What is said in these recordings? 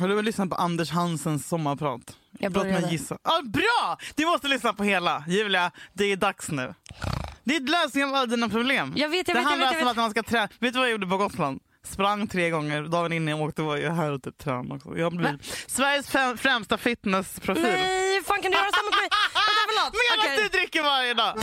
Har du väl lyssnat på Anders Hansens sommarprat? Jag Låt mig började. gissa. Ah, bra! Du måste lyssna på hela. Julia, det är dags nu. Det är lösningen på alla dina problem. Jag vet, jag det vet, jag handlar vet, alltså jag om vet. att man ska träna. Vet du vad jag gjorde på Gotland? Sprang tre gånger. Dagen innan jag åkte var jag här och typ tränade också. Jag blev Sveriges fem, främsta fitnessprofil. Nej, fan kan du göra så mot mig? Vänta, förlåt. Medan Okej. du dricker varje dag.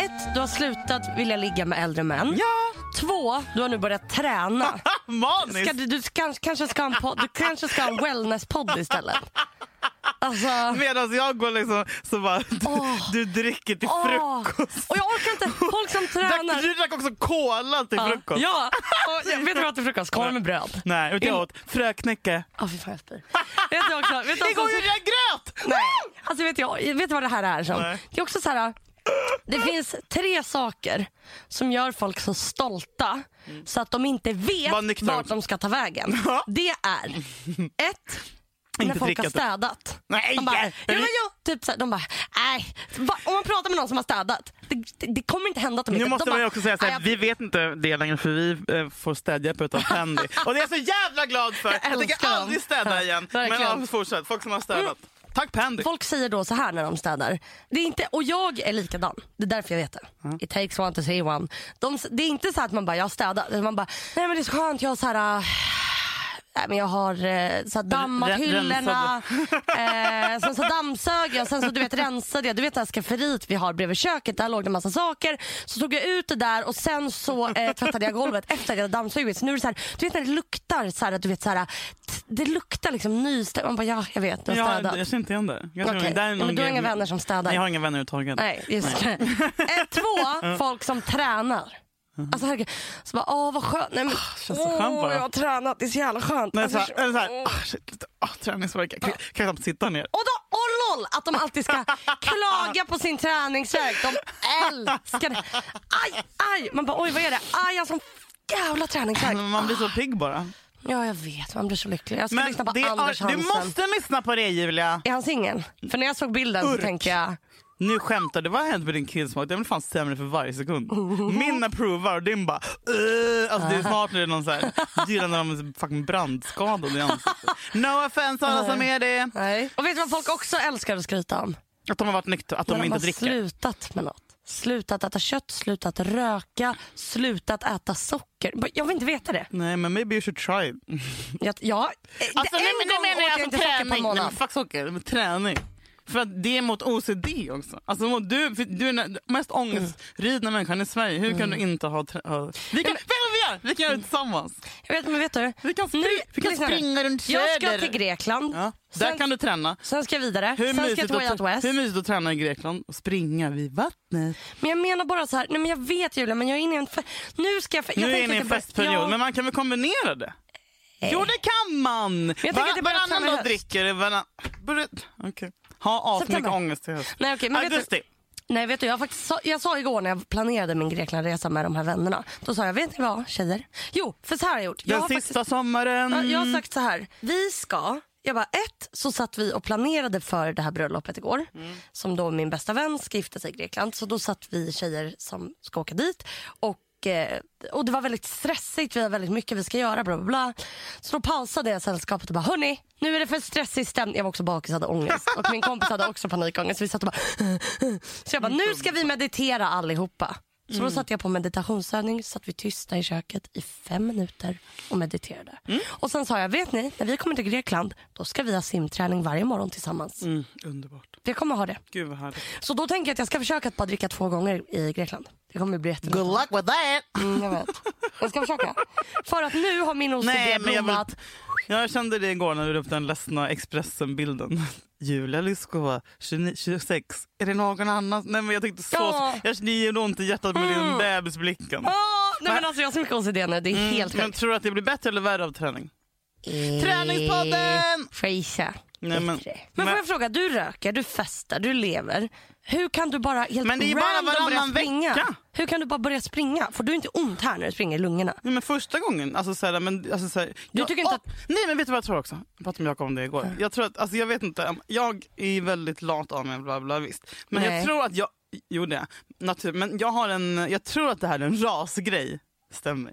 Ett, du har slutat vilja ligga med äldre män. Ja, Två, du har nu börjat träna. maniskt. Ska du, du kan, kanske ska ha en podd, du kanske ska ha en wellness-podd istället. Alltså, Medan jag går liksom så bara, du, Åh. du dricker till åh. frukost. Och jag orkar inte, folk som Drack, tränar. du drack också cola till Ja, frukost. ja. Och, jag vet du vad jag åt till frukost? Korv med bröd. Nej, utan jag åt fröknäcke. Ja, fy fan jag spyr. Vet du också? Vet du Igår också gjorde jag gröt! nej. Alltså, vet, jag, vet du vad det här är som? Nej. Det är också så här... Det finns tre saker som gör folk så stolta så att de inte vet Var nyktra vart också. de ska ta vägen. Ja. Det är ett, när Inte folk har dricka typ. städat. Nej! De bara, jo, men jo, typ så här, de bara, nej. Va- Om man pratar med någon som har städat, det, det, det kommer inte hända att de Nu inte... måste de man ju bara, också säga "Nej, såhär, jag vi vet inte det längre för vi eh, får städhjälp utav Fendi. Och det är jag så jävla glad för! Jag, tänker älskar dem. aldrig städa Ja, igen. Men verkligen. Mm. ja, fortsätt, folk som har städat. Tack Pendy! Folk säger då så här när de städar. Det är inte, och jag är likadan. Det är därför jag vet det. It takes one to say one. De, det är inte så att man bara, jag städar. Utan Man bara, nej men det är så skönt, jag har så här... äh, Nej, men jag har eh, så här, dammat Ren- hyllorna, eh, sen så dammsög jag, sen så du vet rensade jag. Du vet det här skafferiet vi har bredvid köket, där låg det en massa saker. Så tog jag ut det där och sen så eh, tvättade jag golvet efter att jag hade dammsugit. Så nu är det så här, du vet när det luktar så här, att du vet så här, t- det luktar liksom nystädat. Man bara, ja jag vet, du har Ja, städat. jag känner inte igen det. Jag tror- Okej. där är Ja, någon men du har grej- inga vänner som städar. Nej, jag har inga vänner överhuvudtaget. Nej, just det. Eh, Två, folk som tränar. Alltså herregud. Så bara, åh vad skönt. Nej, men, Ah, känns så skönt åh, bara. jag har tränat, det är så jävla skönt. Men Alltså, såhär, eller såhär, åh. ah, shit, lite, ah, träningsvärk. Jag kan- kan knappt sitta ner. och då, och LOL, att de alltid ska klaga på sin träningsvärk. De älskar det. Aj, aj. Man bara, oj vad är det? Aj, jag har sån jävla träningsvärk. Men Man blir så pigg bara. Ja, jag vet. Man blir så lycklig. Jag ska Ah. lyssna på det är- Anders du Hansen. måste lyssna på det Julia! Är han singel? För när jag såg bilden så Urk. tänkte jag, Nu skämtar du, vad har hänt med din killsmak? Den blir fan sämre för varje sekund. Oh. Min approvar och din bara uh, Alltså det är snart nu någon så här, gillar när de är fucking brandskadade i ansiktet. No offense alla som är det. nej. Och vet du vad folk också älskar att skryta om? Att de har varit nyktra, att När de inte har dricker. slutat med något. Slutat äta kött, slutat röka, slutat äta socker. Bara, Jag vill inte veta det. Nej men maybe you should try it. Jag, jag, eh, Alltså, en nej, men, gång nej, åt men, jag alltså, inte socker på en träning. Nej, men månad. fuck socker, men träning. För att det är mot OCD också. Alltså, mot- du, för du är den mest ångestridna människan i Sverige. Hur Mm. kan du inte ha... Trä- ha- vi kan, vet du vad vi gör? Vi kan göra det tillsammans. Jag vet, men vet du? Vi kan, spri- vi kan lyssna nu. springa runt Jag ska Söder. till Grekland. Ja, där Sen, kan du träna. sen ska jag vidare. Hur sen ska jag mysigt, till Way Out att, West. hur mysigt att träna i Grekland och springa vid vattnet. Men jag menar bara så här, nej men jag vet Julia, men jag är inne i en fe- Nu ska jag... fe- jag nu är tänker ni i att en jag bara- festperiod, jag- men man kan väl kombinera det? Jo, det kan man! tänker att det bara varannan tränar i dag höst. dricker det. Varann... Börja- Okej. Ha asmycket September. ångest i höst. Nej, okej, men vet du- Augusti. Nej vet du, jag, faktiskt sa, jag sa igår när jag planerade min Greklandresa med de här vännerna. Då sa jag, vet ni vad tjejer? Jo, för så här har jag gjort. Jag Den har sista faktiskt- sommaren. Ja, jag har sagt så här. Vi ska... Jag bara, ett så satt vi och planerade för det här bröllopet igår. Som då min bästa vän ska gifta sig i Grekland. Så då satt vi tjejer som ska åka dit. Och, eh, och det var väldigt stressigt. Vi har väldigt mycket vi ska göra. Bla, bla, bla. Så då pausade jag sällskapet och bara, hörni, nu är det för stressig stämning. Jag var också bakis hade ångest. Och min kompis hade också panikångest. Så vi satt och bara, så jag bara, nu ska vi meditera allihopa. Så Mm. då satte jag på meditationsövning, satt vi tysta i köket i fem minuter och mediterade. Mm. Och sen sa jag, vet ni, när vi kommer till Grekland, då ska vi ha simträning varje morgon tillsammans. Mm, underbart. Vi kommer ha det. Gud vad härligt. Så då tänker jag att jag ska försöka att bara dricka två gånger i Grekland. Det kommer bli jättebra. Good luck with that! Mm, jag vet. Jag ska försöka. För att nu har min OCD Nej, men jag, blommat. vill, jag kände det igår när du la upp den ledsna Expressen-bilden. Julia Lyskova, 29 26. Är det någon annan? Nej, men jag tänkte så... Ja. Mm. Jag det gör ont i hjärtat med den bebisblicken. Åh, nej men alltså jag har så mycket OCD nu, det är helt Mm, Men sjukt. Eh. tror du att det blir bättre eller värre av träning? Träningspodden! Får jag gissa? Nej, men- Bättre. Men får men- jag fråga, du röker, du festar, du lever. Hur kan du bara helt Men det är ju bara random börja varannan springa? vecka. Hur kan du bara börja springa? Får du inte ont här när du springer i lungorna? Nej, men första gången. Alltså, så här, men, alltså, så här, jag, tycker inte Mm. Åh, Nej men vet du vad jag tror också? Jag pratade med Jakob om det igår. Jag tror att, alltså, jag vet inte. um, Jag är väldigt lat av mig. Bla, bla, visst. Men Nej. jag tror att jag... Jo det är jag. natur, Men jag har en... Jag tror att det här är en rasgrej. Stämmer.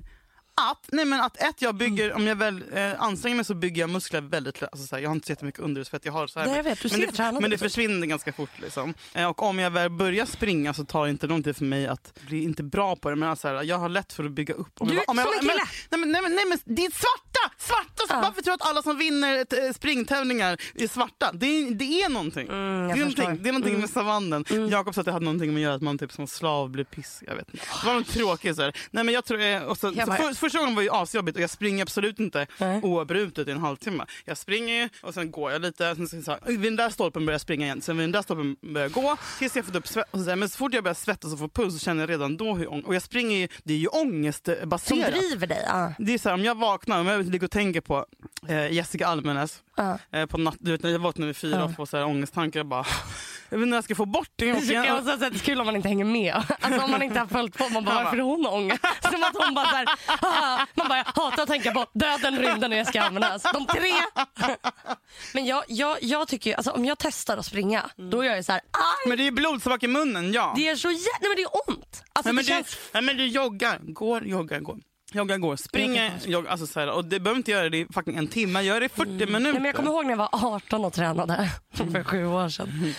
Att, nej men att ett, jag bygger, Mm. om jag väl eh, anstränger mig så bygger jag muskler väldigt lätt. Alltså, så här, jag har inte så jättemycket underhudsfett. Jag har så här, Nej, jag vet. Du men, ser det, tränad men det ut. försvinner ganska fort. Liksom. Eh, och om jag väl börjar springa så tar det inte lång tid för mig att bli inte bra på det. Men alltså, här, jag har lätt för att bygga upp. Om Du jag, är om jag, som en men- kille. Nej men, nej, men, nej, men det är svarta! svarta Ja. Varför tror du att alla som vinner ett, eh, springtävlingar är svarta? Det är, det är någonting. Mm, det jag är förstår. Mm. någonting, det är någonting med savannen. Jakob sa att det hade någonting med att göra att man typ som slav blir pissig. Jag vet inte. Det var något tråkigt. Så här. Nej, men jag tror, eh, och så, Jag så bara- för, första gången var ju asjobbigt och jag springer absolut inte Nej. oavbrutet i en halvtimme. Jag springer ju och sen går jag lite. Sen så, så här, vid den där stolpen börjar jag springa igen. Sen vid den där stolpen börjar jag gå. Tills jag fått upp svett. Och så, där. men så fort jag börjar svettas och få puls så känner jag redan då hur ång- Och jag springer ju, det är ju Som ångestbaserat. driver dig? Ja. Det är så här, om jag vaknar, om jag ligger och tänker på eh, Jessica Almenäs Ja. eh, på natt, du vet, när jag vaknar vid fyra Ja. och får så här ångesttankar, jag bara jag vet inte när jag ska få bort det. Jag Det måste tycker jag gärna- också är så här kul om man inte hänger med. Alltså om man inte har följt på. Man bara, Ja. varför har hon ångest? Som att hon bara så här, "Haha." man bara, jag hatar att tänka på döden, rymden och Jessica Almenäs. De tre. Men jag, jag, jag tycker ju, alltså om jag testar att springa, Mm. då är jag ju så här, aj! Men det är ju blodsmak i munnen, ja. Det är så jä- Nej men det är ont. Alltså nej, men det känns... du, nej, men du joggar, går, joggar, går. Joggar, går, springer, joggar. Alltså så här, och det behöver inte göra det i fucking en timme, gör det i 40 minuter. Nej, Mm. men jag kommer ihåg när jag var 18 och tränade för sju år sedan.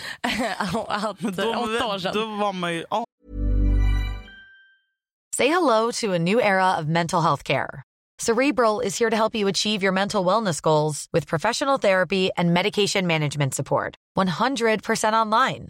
Att, åtta år sedan. Mm. då var man ju ja, Say hello to a new era of mental health care. Cerebral is here to help you achieve your mental wellness goals with professional therapy and medication management support. 100% online.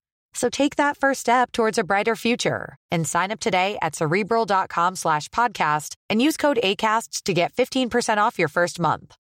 So take that first step towards a brighter future and sign up today at cerebral.com slash podcast and use code ACAST to get 15% off your first month.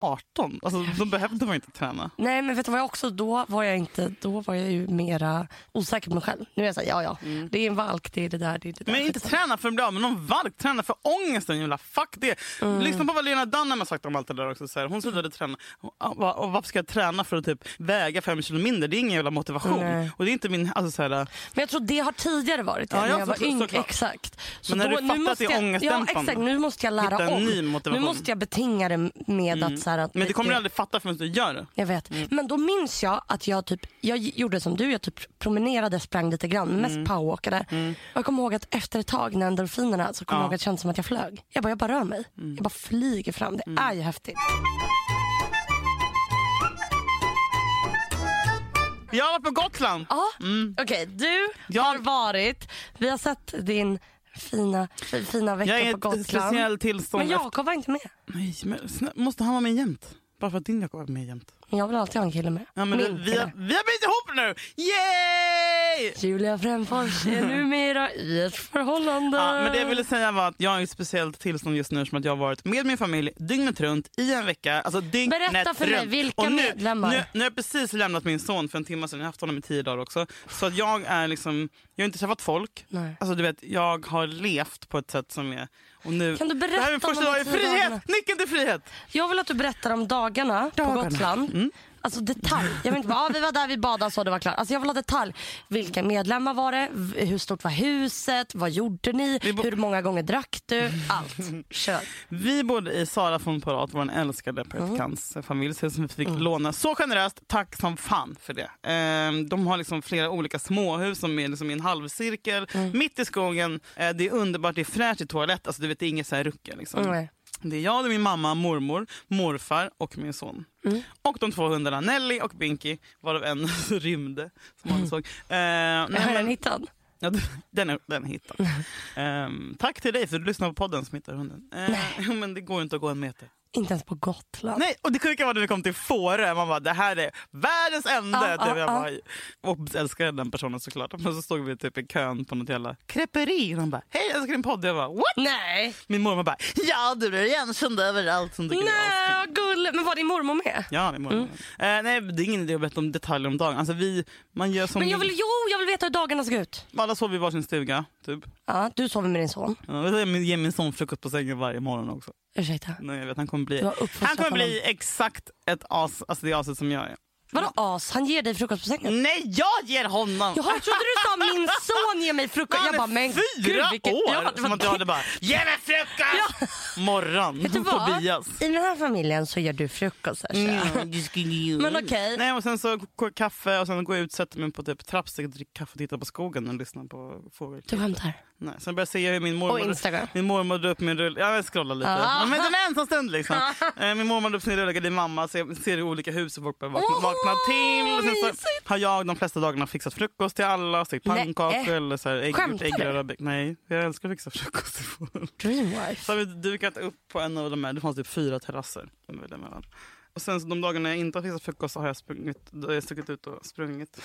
18. Alltså, då behövde man inte träna. Nej men vet du vad jag också, då var jag inte, då var jag ju mera osäker på mig själv. Nu är jag såhär, ja ja, det är en valk, det är det där, det är det där. Mm. Men inte träna för att bli av med någon valk, träna för ångesten. Jävla fuck det. Mm. Lyssna på vad Lena Dunham har sagt om allt det där också. Så här, hon slutade träna. Och, och, och varför ska jag träna för att typ väga fem kilo mindre? Det är ingen jävla motivation. Nej. Och det är inte min... Alltså, så här, Men jag tror det har tidigare varit det, Ja, när ja, jag var så- yngre. såklart. Exakt. Så Men när du nu fattar att måste det är jag- ångestdämpande. Ja exakt, nu måste jag lära Hitta en om. ny motivation. Mm. Nu måste jag betinga det med att så här, att men det kommer du aldrig fatta förrän du gör det. Jag vet. Men då minns jag att jag typ, jag gjorde som du, jag typ promenerade, sprang lite grann, men mest powerwalkade. Och jag kommer ihåg att efter ett tag när endorfinerna, så kommer jag ihåg att det kändes som att jag flög. Jag bara, jag bara rör mig. Jag bara flyger fram. Det är ju häftigt. Jag har varit på Gotland. Ja, okej. Du Jag- har varit, vi har sett din fina, fi- fina jag vecka är i på ett Gotland. speciellt tillstånd. Men efter- Jakob var inte med. Nej, men, snä- måste han vara med jämt? Bara för att din Jakob är med jämt. Men jag vill alltid ha en kille med. Ja, men vi, Min vi, kille. har, vi har blivit ihop nu! Yay! Julia Fränfors är numera i ett förhållande. Ja, men det jag ville säga var att jag är i ett speciellt tillstånd just nu som att jag har varit med min familj dygnet runt i en vecka. Alltså dygnet Berätta för mig, runt. vilka Och nu, medlemmar? Nu, nu har jag precis lämnat min son för en timme sedan. Jag har haft honom i tio dagar också. Så att jag är liksom, jag har inte träffat folk. Nej. Alltså du vet, jag har levt på ett sätt som är... Och nu, Kan du det här är min berätta om första de dag i här tio frihet! dagarna? Nyckeln till frihet! Jag vill att du berättar om dagarna, Dagarna. på Gotland. Alltså detalj. Jag vill inte bara, ah, vi var där, vi badade så det var klart. Alltså jag vill ha detalj. Vilka medlemmar var det? V- Hur stort var huset? Vad gjorde ni? Vi bo- Hur många gånger drack du? Allt. Kör. Vi bodde i Sara von Parat, vår älskade praktikants familjs hus som vi fick låna. Så generöst, tack som fan för det. Ehm, De har liksom flera olika småhus som är liksom i en halvcirkel, mitt i skogen. Eh, Det är underbart, det är fräscht i toalett, alltså, du vet, det är inget så här ruckel. Liksom. Nej. Det är jag, det är min mamma, mormor, morfar och min son. Och de två hundarna Nelly och Binky, varav en rymde som man såg. Eh, nej, Har den men- hittad? Ja, du- den, är, den är hittad. Ehm, tack till dig för att du lyssnar på podden som hittar hunden. Ehm, jo, men det går ju inte att gå en meter. Inte ens på Gotland. Nej, och det sjuka var när vi kom till Fårö. Man bara, det här är världens ände. Ja, det jag ja, ja. bara, Obs, älskade den personen såklart. Men så stod vi typ i kön på något jävla creperi. Och han bara, hej jag älskar din podd. Jag bara, what? Nej. Min mormor bara, ja du blir igenkänd överallt. Som tycker det är Nej, Mm. vad gulligt. Men var din mormor med? Ja, min mormor. Eh, nej, det är ingen idé att berätta om detaljer om dagen. Alltså, vi, man gör som Men jag vill, jo, jag vill veta hur dagarna såg ut. alla sov i varsin stuga. Typ. Ja, du sover med din son. Ja, Jag ger min son frukost på sängen varje morgon också. Ursäkta. Nej, jag vet, han kommer bli, Du har uppfostrat han kommer bli honom. exakt ett as, alltså det aset som jag är. Vadå as? Han ger dig frukost på sängen? Nej, jag ger honom! Jaha, jag trodde du sa min son ger mig frukost. han jag är bara, men fyra gud vilket... år! Ja, det som var- att jag hade bara, ge mig frukost! Morgon, Vet du vad? Tobias. I den här familjen så gör du frukost. Sasha. Mm. Men okej. Nej, och sen så k- k- kaffe och sen går jag ut sätter mig på typ trappsteget, dricker kaffe och tittar på skogen och lyssnar på fåglar. Du skämtar? Nej, sen började jag se hur min Och mormor, Instagram. min mormor drar upp min rulle. Ja, jag scrollar lite. Ah. Ja, men det är en ensam stund liksom. Eh, min mormor drar upp sin rulle, det är mamma. Så jag ser i olika hus och folk börjar vakna, Åh, vakna till. Och sen så mysigt. har jag de flesta dagarna fixat frukost till alla. Stekt Nej. eh, pannkakor eller så här, ägg, Skämtar du? äggröra. bä- Nej, jag älskar att fixa frukost till folk. Så Dreamwife. har vi dukat upp på en av de här, det fanns typ fyra terrasser. som vi lämnade. Och sen så de dagarna jag inte har fixat frukost så har jag sprungit, då har jag stuckit ut och sprungit.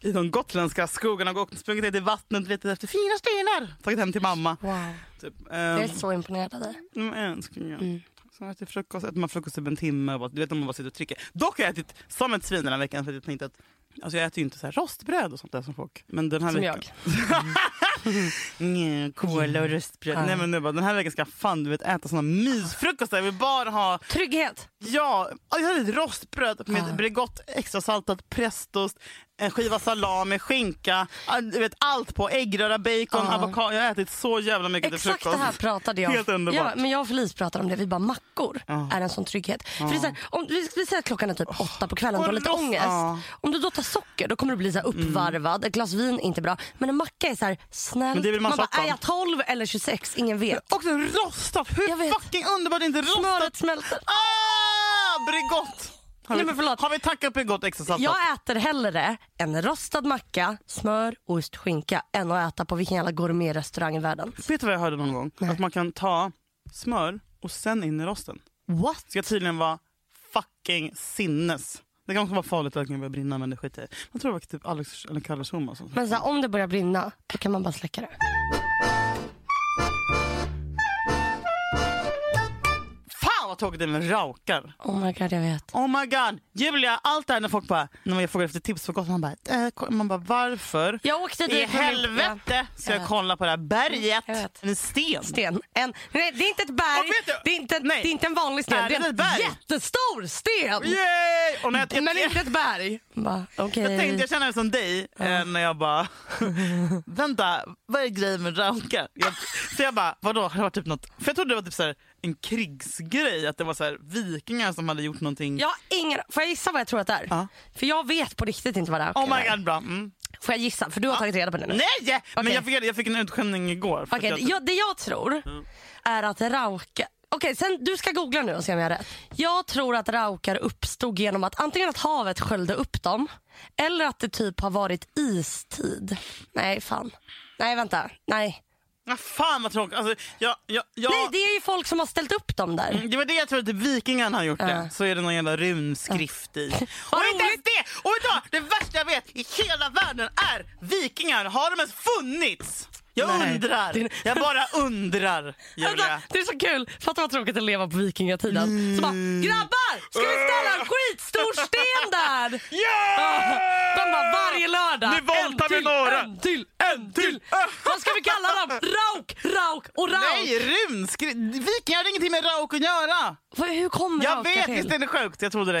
I de gotländska skogarna och gått- sprungit ner i vattnet letat efter fina stenar. Tagit hem till mamma. Wow. Typ. Um, Jag är så Mm. imponerad av dig. älskling, ja. Sen äter jag frukost, äter man frukost typ en timme. Och bara, du vet om man bara sitter och trycker. Dock har jag ätit som ett svin den här veckan för att jag tänkte att Alltså jag äter ju inte så här rostbröd och sånt där som folk. Men den här Som veckan. jag. Mm, Kola och rostbröd. Nej men nu bara, den här veckan ska jag fan du vet, äta såna mysfrukostar. Jag vill bara ha, Trygghet. ja, ja, jag hade ett rostbröd med Bregott, extra saltat, prästost, en skiva salami, skinka, ja, du vet allt på. Äggröra, bacon, avokado. Jag har ätit så jävla mycket till Exakt det frukost. här pratade jag Helt underbart. Ja, men jag och Felice pratade om det. Vi bara mackor är en sån trygghet. För det är så här, om, vi, vi säger att klockan är typ åtta på kvällen, du Och har lite loss- ångest. ja. Mm. Om du då tar socker då kommer du bli så här uppvarvad. Ett glas vin är inte bra. Men en macka är så här snällt. Men det vill man bara, tjocka om. är jag 12 eller 26? Ingen vet. Och sen rostat! Jag Hur vet. fucking underbart är inte Smöret rostat? smälter. Ah! Bregott! Har, Nej, vi- men förlåt. har vi tackat Bregott extra saltat? Jag äter hellre en rostad macka, smör, ost, skinka än att äta på vilken jävla gourmetrestaurang i världen. Vet du vad jag hörde någon gång? Att man kan ta smör och sen in i rosten. What? Ska tydligen vara fucking sinnes. Det kan också vara farligt att det kan börja brinna men det skiter jag i. Man tror det var typ Alex eller Kalle Schulman som Men så här, om det börjar brinna, då kan man bara släcka det. Fan vad tråkigt det är med raukar. Oh my god, jag vet. Oh my god. Julia, allt det här när folk bara, när jag frågar efter tips på Gotland, man bara, äh, kolla. man bara varför? Jag åkte I dit med min- helvete Ja, ska jag jag vet. kolla på det här berget. Jag vet. En sten. Sten. En, nej, det är inte ett berg. Och vet du- det, är inte, Nej. det är inte en vanlig sten. Är det det är en ett berg? jättestor sten. Yay! Och när jag, Men inte ett berg. Bara, Okej. Jag tänkte jag känner mig som dig eh, när jag bara, vänta vad är grejen med rankar? Jag, så jag bara, vadå har det varit typ något? För jag trodde det var typ så här, en krigsgrej, att det var så här, vikingar som hade gjort någonting. Jag har ingen, får jag gissa vad jag tror att det är? Ja. För jag vet på riktigt inte vad det är. Oh my god bra. Mm. Får jag gissa? För du har tagit reda på det nu. Nej! Men Okej. jag fick, jag fick en utskällning igår. för att Okej, jag typ- jag, det jag tror är att raukar... Okej, sen du ska googla nu och se om jag har rätt. Jag tror att raukar uppstod genom att antingen att havet sköljde upp dem eller att det typ har varit istid. Nej, fan. Nej, vänta. Nej. Ah, fan vad tråkigt. Alltså, jag, jag, jag, Nej, det är ju folk som har ställt upp dem där. det var det jag trodde, att vikingarna har gjort det. Så är det någon jävla runskrift i. Och Vad inte ens det! Och idag, det värsta jag vet i hela världen är vikingar. Har de ens funnits? Jag Nej. undrar. Det- Jag bara undrar, Julia. Vänta, det är så kul. Fatta vad tråkigt att leva på vikingatiden. Så bara, grabbar! Ska vi ställa en skitstor sten där? Yeah! De bara varje lördag. Ah! Nu våldtar en vi till, några. En till, en till. Vad ska vi kalla dem? Rauk, rauk och rauk. Nej, runskrift. Vikingar har ingenting med rauk att göra. Vad- Hur kommer Jag raukar vet, till? visst är det sjukt? Jag trodde det.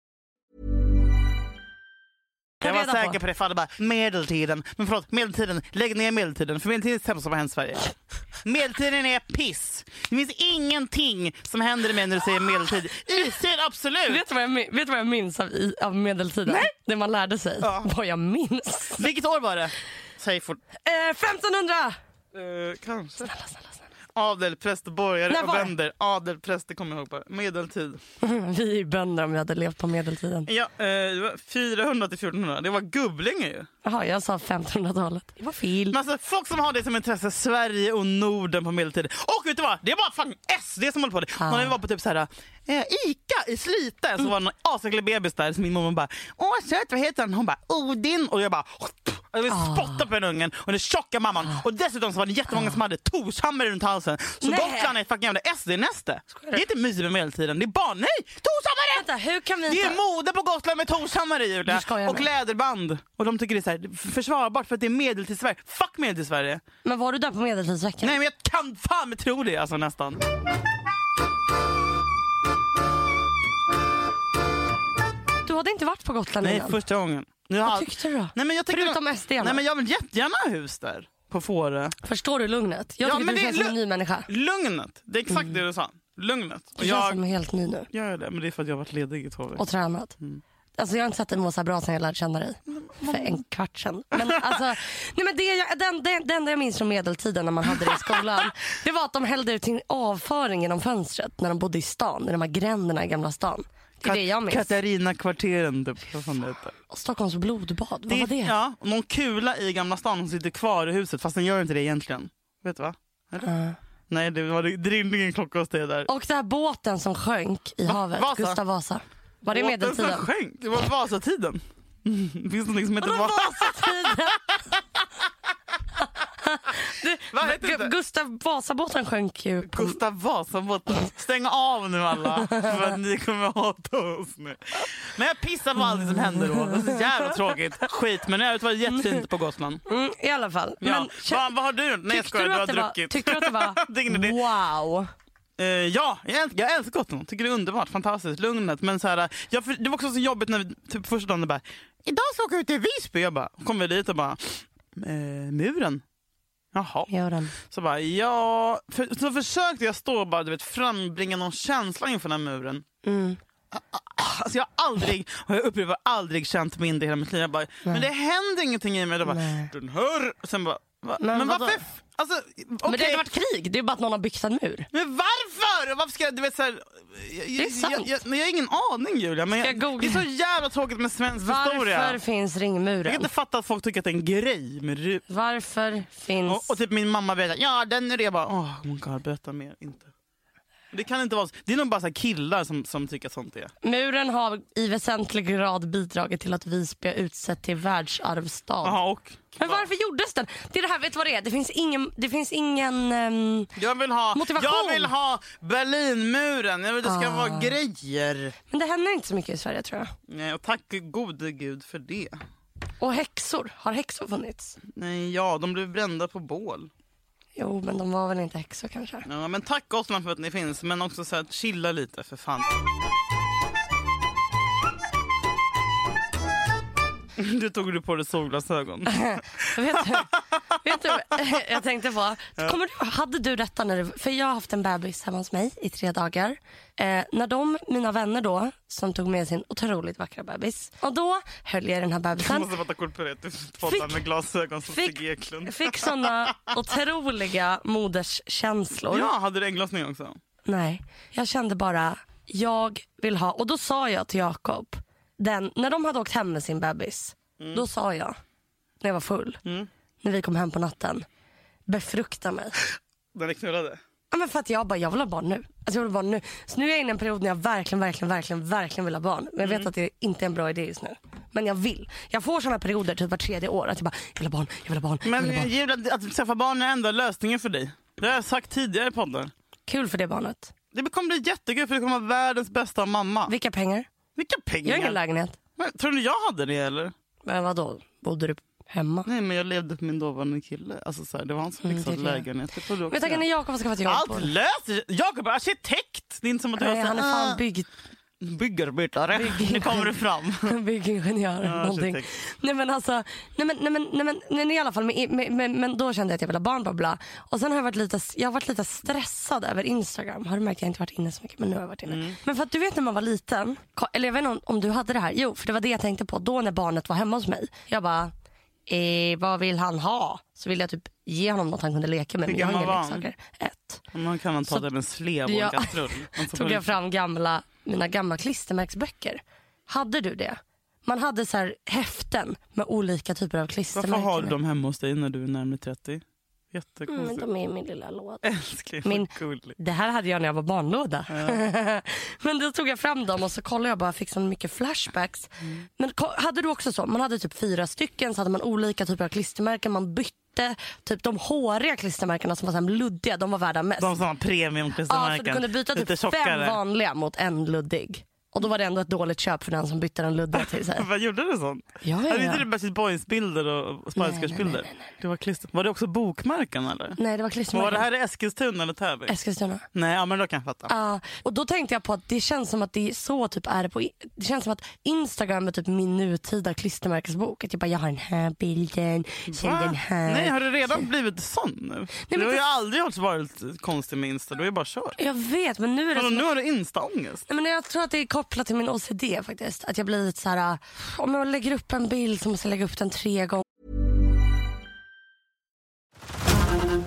Jag reda var på. säker på det för alla bara medeltiden. Men förlåt, medeltiden. Lägg ner medeltiden. För medeltiden är det sämsta som har hänt Sverige. Medeltiden är piss. Det finns ingenting som händer med när du säger medeltid. Istid, absolut. Vet du vad jag, min- vet du vad jag minns av, i- av medeltiden? Det man lärde sig. Vad jag minns. Vilket år var det? Säg fort. Eh, 1500! Eh, kanske. Snälla, snälla, snälla. Adel, präst, borgare När och var det? vänder. Adel, präst, det kommer jag ihåg bara. Medeltid. Vi är ju bönder om vi hade levt på medeltiden. Ja, eh, det var 400 till 1400. Det var Gubblinge ju. Jaha, jag sa 1500-talet. Det var fel. Men alltså, folk som har det som intresse, Sverige och Norden på medeltiden. Och vet du vad? Det är bara fan SD som håller på det. Ah. När vi var på typ så här, eh, Ica i Slite så var det någon asäcklig bebis där som min mamma bara Åh söt, vad heter han? Hon bara Odin och jag bara jag vill Ah. spotta på den ungen och den tjocka mamman. Och dessutom så var det jättemånga som hade torshammer runt halsen. Så Nej. Gotland är ett fucking jävla SD-näste. Det är inte mysigt med medeltiden. Det är bara nej! Torshammare! Vänta, hur kan vi Det ta- är mode på Gotland med torshammare Julia. Du skojar Och med. läderband. Och de tycker det är så här, försvarbart för att det är medeltidssverige. Fuck medeltidssverige. Men var du där på medeltidsveckan? Nej men jag kan fan med tro det alltså nästan. Du hade inte varit på Gotland Nej innan? första gången. Nu har- tyckte du då? Nej, men jag tycker Förutom SD -arna. Nej men jag vill jättegärna ha hus där. På Fårö. Förstår du lugnet? Jag Ja, tycker men du det är känns som en lu- ny människa. Lugnet. Det är exakt det du sa. Lugnet. Och Du Mm. känns som jag helt ny nu gör det men det är för att jag har varit ledig i två veckor. och tränat. Mm. Alltså jag har inte sett dig må så här bra sen jag lärde känna dig. För en kvart sedan. Men alltså, nej men det, jag, den, den, det enda jag minns från medeltiden när man hade det i skolan. det var att de hällde ut sin avföring genom fönstret när de bodde i stan. I de här gränderna i gamla stan. Det är det jag minns. Katarina kvarteren typ. Vad fan det heter. Stockholms blodbad, vad var det? Ja, och någon kula i Gamla stan som sitter kvar i huset fast den gör inte det egentligen. Vet du va? Eller? Nej, det var det ringde ingen klocka hos dig där. Eh. Och den här båten som sjönk i havet. Vasa? Gustav Vasa. Var det Åt den som medeltiden? skänk. Det var Vasatiden. Mm, Finns det någonting som heter Vadå Vasatiden? Vasatiden? Vad heter Gu- det? Gustav Vasabåten sjönk ju. på- Gustav Vasa borta. Stäng av nu alla, för att ni kommer hata oss nu. Men jag pissar på allting som händer då. Det är så jävla tråkigt. Skit, men i övrigt var det jättefint på Gotland. Mm, I alla fall. Ja. Men, kä- vad, vad har du gjort? Nej jag tyckte, skojar, du du har att det var, druckit. tyckte du att det Ingen idé. var wow? Eh, ja, jag älskar, jag älskar Gotland. Tycker det är underbart, fantastiskt, lugnet. Men så här, jag, för- det var också så jobbigt när vi, typ första dagen, det bara, idag ska jag åka ut till Visby. Jag bara, kom vi dit och bara, eh, muren? Jaha. Gör den. Så bara, ja. För, så försökte jag stå och bara, du vet, frambringa någon känsla inför den här muren. Mm. Alltså jag har aldrig, och jag upprepar aldrig känt mindre i hela mitt liv. Jag bara, men det händer ingenting i mig. Jag bara, Nej. den hör. Och Sen bara, va, men, Men vadå? varför? f- Alltså, Men det okej. har inte varit krig, det är bara att någon har byggt en mur. Men varför? Och Varför ska jag, du vet så här, jag, är sant. jag, jag, jag, jag har ingen aning Julia. Men Ska jag, jag googla? det är så jävla tråkigt med svensk Varför historia. finns Jag kan ringmuren? inte fatta att folk tycker att det är en grej med ru- Varför finns... och, och typ min mamma berättar, ja den är det. Jag bara, oh my god berätta mer. Inte. Det kan inte vara så. Det är nog bara så här killar som, som tycker att sånt är. Muren har i väsentlig grad bidragit till att Visby har utsett till världsarvsstad. Jaha och? Men varför gjordes den? Det är det här, vet du vad det är? Det finns ingen... Det finns ingen ehm, Jag vill ha, Motivation. Ah. jag vill ha Berlinmuren. Jag vill, det ska vara grejer. Men det händer inte så mycket i Sverige tror jag. Nej, och tack gode gud för det. Och häxor. Har häxor funnits? Nej, ja, de blev brända på bål. Jo, men de var väl inte häxor kanske. Ja, men tack Gotland för att ni finns, men också så att chilla lite för fan. Du tog du på dig solglasögon. Jag vet du, Vet du vad jag tänkte på? Kommer du, hade du detta när du, för jag har haft en bebis hemma hos mig i tre dagar. Eh, när de, mina vänner då, som tog med sin otroligt vackra bebis. Och då höll jag i den här Jag bebisen. måste bara ta kort på det. Du poddar Fick- med glasögon som Fick, Stig Eklund. fick såna otroliga moderskänslor. Ja, hade du ägglossning också? Nej, jag kände bara, jag vill ha, och då sa jag till Jakob, den, när de hade åkt hem med sin bebis, då sa jag, när jag var full, när vi kom hem på natten, befrukta mig. När det knullade? Ja, men för att jag bara, jag vill ha barn nu. Alltså jag vill ha barn nu. Så nu är jag inne i en period när jag verkligen, verkligen, verkligen, verkligen vill ha barn. Men jag vet att det inte är en bra idé just nu. Men jag vill. Jag får såna perioder typ var tredje år att jag bara, jag vill ha barn, jag vill ha barn, jag vill ha Men barn. Julia, att skaffa barn är ändå lösningen för dig. Det har jag sagt tidigare i podden. Kul för det barnet. Det kommer bli jättekul för du kommer vara världens bästa mamma. Vilka pengar? Vilka Jag har ingen pengar! lägenhet. Men, tror du jag hade det eller? Men vadå, bodde du hemma? Nej men jag levde på min dåvarande kille. Alltså, så här, det var han som Mm, fixade det är det. lägenhet. Det får du också Men tack, göra. när Jakob har skaffat jobb. Allt löser sig. Jakob är arkitekt! Det är inte som att du Ah. Nej, han är fan bygg, byggarbetare. Bygg- Nu kommer du fram. byggingenjör. Ja, någonting. arkitekt. Nej men alltså, nej men, nej men, nej men, nej, men i alla fall, men, men, men, men då kände jag att jag ville ha barn, bla bla. Och sen har jag varit lite, jag har varit lite stressad över Instagram. Har du märkt? Jag har inte varit inne så mycket, men nu har jag varit inne. Mm. Men för att du vet när man var liten, ko- eller jag vet inte om, om du hade det här. Jo, för det var det jag tänkte på då när barnet var hemma hos mig. Jag bara, eh, vad vill han ha? Så ville jag typ ge honom något han kunde leka med. Hur men jag har gammal inga var han? leksaker. Ett. Man kan man ta Så- det med en slev och en Ja. kastrull. Alltså, tog jag fram gamla, mina gamla klistermärksböcker. Hade du det? Man hade så här häften med olika typer av Varför klistermärken. har du dem hemma hos dig när du är närmare 30? Mm, men Jättekonstigt. de är i min lilla låda. Älskling, Min- vad gullig. Det här hade jag när jag var barnlåda. men då tog jag fram dem och så kollade jag bara, fick så mycket flashbacks. Mm. Men ko- hade du också så? Man hade typ fyra stycken, så hade man olika typer av klistermärken, man bytte. Typ de håriga klistermärkena som var så här luddiga, de var värda mest. De som har Ja, så du premiumklistermärken. kunde byta Lite typ fem tjockare. vanliga mot en luddig. Och då var det ändå ett dåligt köp för den som bytte den luddiga till sig. Vad gjorde du sånt? Ja, ja, Hade inte ja. du Backstreet Boys-bilder och Spice Nej, nej, Girls-bilder? nej, Det var, klister... var det också bokmärken eller? Nej, det var Var klistermärken. det här i Eskilstuna eller Täby? Eskilstuna. Nej, ja, men då kan jag fatta. Ja, och då tänkte jag på att det känns som att det är så typ är det på... Det känns som att Instagram är typ min nutida klistermärkesbok. Att jag bara, jag har den här bilden, sen Va? den här. Nej, har du redan blivit sån nu? du har det- ju aldrig hållit- varit konstig med Insta, du har ju bara kört. Jag vet, men nu är det Alltså, som... nu har du Insta-ångest. Nej, men jag tror att det är kopplat till min OCD faktiskt. Att jag blir lite så här, om jag lägger upp en bild så måste jag lägga upp den tre gånger.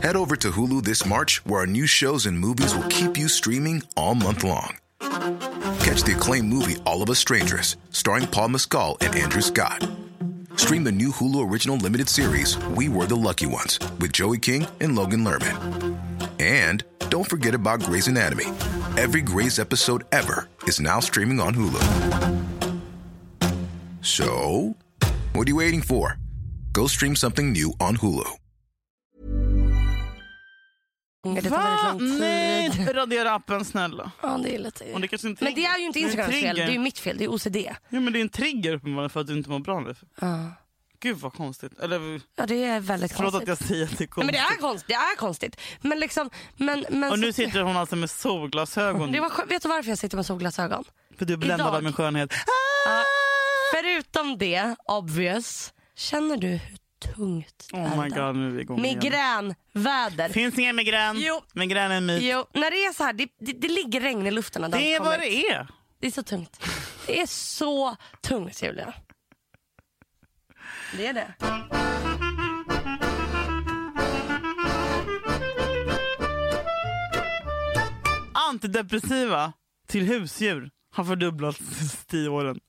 Head over to Hulu this March, where our new shows and movies will keep you streaming all month long. Catch the acclaimed movie All of Us Strangers, starring Paul Mescal and Andrew Scott. Stream the new Hulu original limited series We Were the Lucky Ones with Joey King and Logan Lerman. And don't forget about Grey's Anatomy. Every Grey's episode ever is now streaming on Hulu. So, what are you waiting for? Go stream something new on Hulu. Det tar väldigt lång tid. Nej, radera appen snälla. Ja, det är lite... Och det kanske inte Men det är ju inte Det är en Instagrams fel, det trigger. är ju mitt fel. Det är OCD. Ja, men det är en trigger uppenbarligen för att du inte mår bra nu. Gud vad konstigt. Eller Ja, det är väldigt förlåt konstigt. att jag säger att det är Nej, men konstigt. det är konstigt. Det är konstigt. Men liksom, men, men Och nu så- sitter hon alltså med solglasögon. Det var, skö- vet du varför jag sitter med solglasögon? För du är bländad idag. av min skönhet. Ah! Förutom det, obvious, känner du hur tungt det Oh är my idag? god, nu är vi igång igen. Migränväder. Finns ingen migrän. Jo. Migrän är en myt. Jo, när det är så här, det, det, det ligger regn i luften. när Det är dagen kommer. vad det är. det är så tungt. Det är så tungt Julia. Det är det. Antidepressiva till husdjur har fördubblats de senaste tio åren.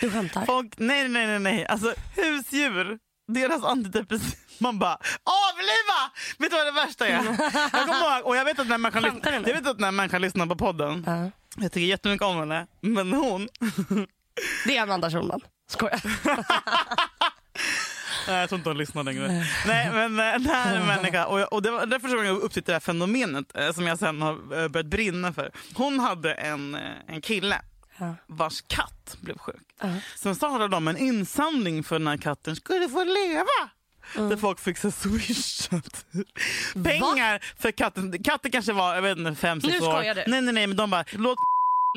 Du skämtar? Folk, nej, nej, nej, nej. Alltså husdjur, deras antidepressiva. Man bara avliva! Vet du vad det värsta är? Jag kommer ihåg, och jag vet att när människan, lys- Skämtar du jag nu? vet att när människan lyssnar på podden, Ja. jag tycker jättemycket om henne, men hon, Det är Amanda Schulman. Skojar. nej, jag tror inte hon lyssnar längre. nej, men eh, den här människan, och, jag, och det var därför som jag upptäckte det här fenomenet eh, som jag sen har eh, börjat brinna för. Hon hade en, eh, en kille Ja. vars katt blev sjuk. Ja. Sen startade de en insamling för den här katten skulle få leva. Där folk fick så swishat pengar för katten. Katten kanske var jag vet inte, fem, sex Nu år. skojar du. Oh Nej, nej, nej, men de bara låt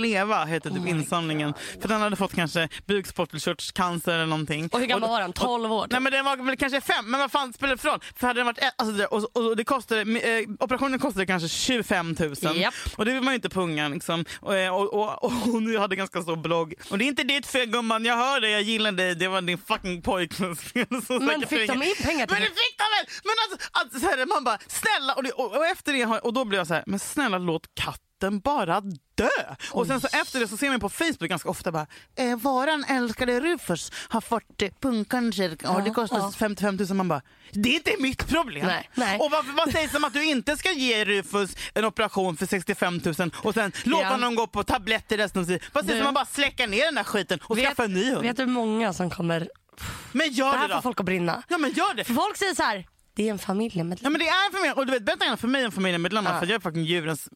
leva heter typ insamlingen. För den hade fått kanske bukspottkörtelcancer eller någonting. Och hur gammal var han? 12 år? Nej men den var väl kanske fem, men vad fan spelar det för roll? För hade den varit ett, alltså, det- och, och det kostade, eh, operationen kostade kanske 25 000 Japp. och det vill man ju inte punga liksom. Och, eh, och, och, och hon hade ganska stor blogg. Och det är inte ditt fel gumman, jag hör dig, jag gillar dig, det var din fucking pojkväns fel. som Men säkert fick de ringer. in pengar till Men det det? fick de väl! Men alltså, alltså så här, man bara snälla, och, det, och, och efter det har, och då blev jag så här, men snälla låt katten bara dö. Och sen så efter det så ser man på Facebook ganska ofta bara, eh, våran älskade Rufus har fått eh, punkancer och det kostar 55 000. Man bara, det är inte mitt problem. Nej, nej. Och varför, vad sägs om att du inte ska ge Rufus en operation för 65 000 och sen låta Ja. honom gå på tabletter resten av sitt liv? Vad sägs om Du- man bara släcker ner den där skiten och Vet- skaffar en ny hund? Vet du hur många som kommer... Men Det gör det, här får då! folk att brinna. Ja men gör det! För folk säger så här, det är en Ja, familjemedlem. men det är familjen. Och du vet, bättre än för mig än familjemedlemmar Ja. för jag är fucking djurens eh,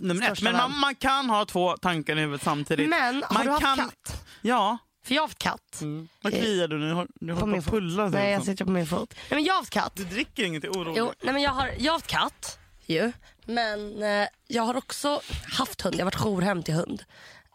nummer ett. Största Men man, vän. man kan ha två tankar i huvudet samtidigt. Men har man du haft katt? Ja. För jag har haft katt. Eh, Vad Mm. kliar du nu? Har- Du På håller på min att fot. pulla. liksom. Nej, jag sitter på min fot. Nej, men jag har haft katt. Du dricker inget, det är orolig. Jo, nej men jag har, jag har haft katt ju. Men eh, jag har också haft hund. Jag har varit jourhem till hund.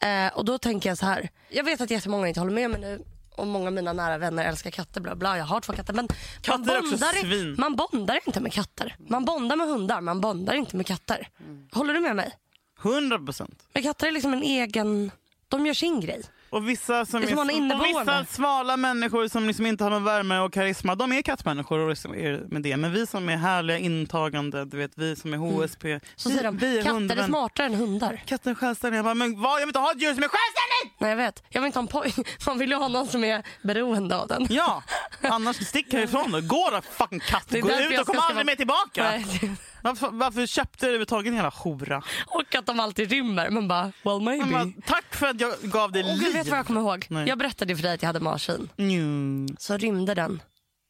Eh, och då tänker jag så här. Jag vet att jättemånga inte håller med mig nu. Och många av mina nära vänner älskar katter. Bla bla. Jag har två katter. Men man, Katter är också bondar, i- svin. man bondar inte med katter. Man bondar med hundar. Man bondar inte med katter. Mm. Håller du med mig? 100 procent. Men katter är liksom en egen... De gör sin grej. Och vissa, som Det är som en är, och inneboende. vissa svala människor som liksom inte har någon värme och karisma, de är kattmänniskor. Och liksom är med det. Men vi som är härliga, intagande, du vet, vi som är HSP, Mm. Så vi, säger de, vi är katter är hundvän- smartare än hundar. Katten är självständig. Jag bara, men vad? Jag vill inte ha ett djur som är självständigt! Nej jag vet. Jag vill inte ha en poj. Man vill ju ha någon som är beroende av den. Ja, annars stick härifrån då. Gå då fucking katt. Det är Gå därför ut jag och kom ska aldrig skaffa- mer tillbaka. Nej, det- Varför, varför köpte du överhuvudtaget en jävla hora? Och att de alltid rymmer. Man bara, well Men maybe. bara, Tack för att jag gav dig och du liv. vet vad jag kommer ihåg? Nej. Jag berättade ju för dig att jag hade marsvin. Nju. Så rymde den.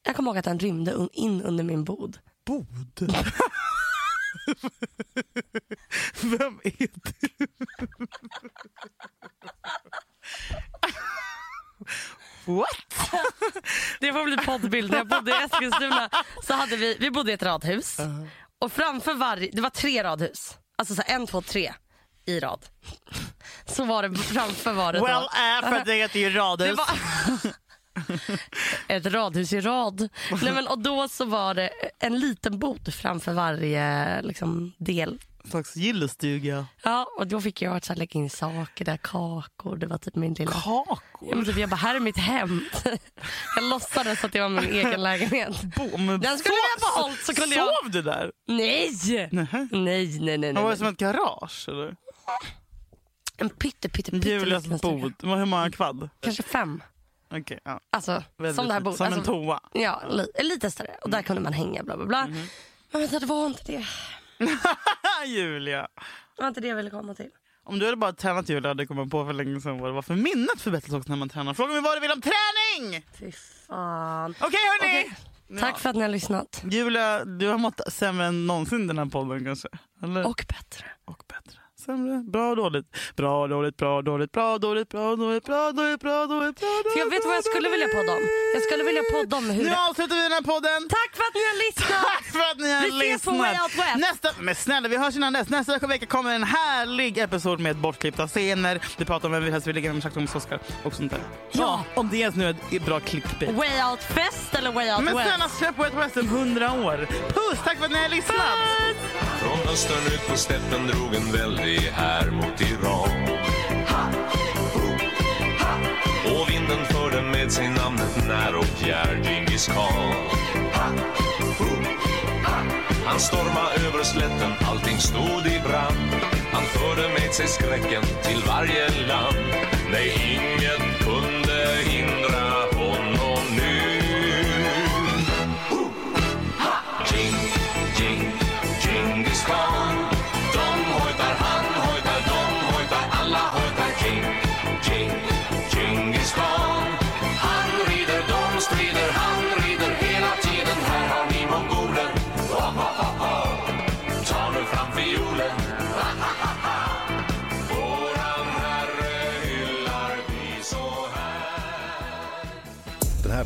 Jag kommer ihåg att den rymde un- in under min bod. Bod. Vem är du? What? Det får bli poddbild. När jag bodde i Eskilstuna så hade vi, vi bodde i ett radhus. Och framför varje, det var tre radhus. Alltså så här, en, två, tre i rad. Så var det framför var det då- Well, äh, för att det heter ju radhus. Det var... Ett radhus i rad. Nej, men, och då så var det en liten bod framför varje liksom, del En slags gillestuga. Ja, och då fick jag att så här, lägga in saker där, kakor, det var typ min lilla... Ja, Kakor? men typ, jag bara, här är mitt hem. jag låtsades att det var min egen lägenhet. Bo- men Den skulle sov- vi ha behållit så kunde jag... Sov du där? Nej! Nej, nej, nej. nej, Det var det nej. som ett garage eller? En pytte, pytte, pytte Julias liten stuga. bod. Hur många kvadd? Kanske fem. Okej, ja. Alltså, Väldigt som det här lite- bordet. som en Mm. alltså, toa. Ja, li, lite större. Och där kunde man hänga, bla bla bla. Mm-hmm. Men vänta, det var inte det. Ah, Julia! Det var inte det jag ville komma till. Om du hade bara tränat Julia hade du kommit på för länge sedan vad det var för minnet förbättras också när man tränar. Fråga mig vad du vill om träning! Fy fan. Okej hörni! Okej. Tack för att ni har lyssnat. Julia, du har mått sämre än någonsin den här podden kanske? Eller? Och bättre. Och bättre. Sämre. Bra dåligt. Bra dåligt, bra dåligt, bra dåligt, bra dåligt, bra dåligt, bra dåligt, bra dåligt. För jag vet vad jag skulle vilja podda om. Jag skulle vilja podda om hur... Nu avslutar vi den här podden! Tack för att ni har lyssnat! Tack för att ni har Vi ses på lyssnat. Way Out West. Nästa, men snälla, vi hörs innan dess. Nästa vecka kommer en härlig episod med bortklippta scener. Vi pratar om vem vi helst vill ligga med, sagt om Oscar och sånt där. Ja. om det ens nu är ett bra clickbait. Way Out Fest eller Way Out Men West? snälla släpp Way Out West om hundra år. Puss, tack för att ni har lyssnat! Från östern ut på steppen drog en väldig här mot Iran. Och vinden förde med sig namnet när och fjärr Djingis khan. Han storma över slätten, allting stod i brand. Han förde med sig skräcken till varje land. Nej, ingen kunde hindra honom nu. Jing, jing, Djingis khan De hojtar, han hojtar, de hojtar, alla hojtar Jing, jing, Djingis khan Han rider, de strider, han rider hela tiden Här har ni mongoler oh, oh, oh, oh. Ta nu fram fiolen Ah, ah, ah, ah. Våran herre hyllar vi så här Den här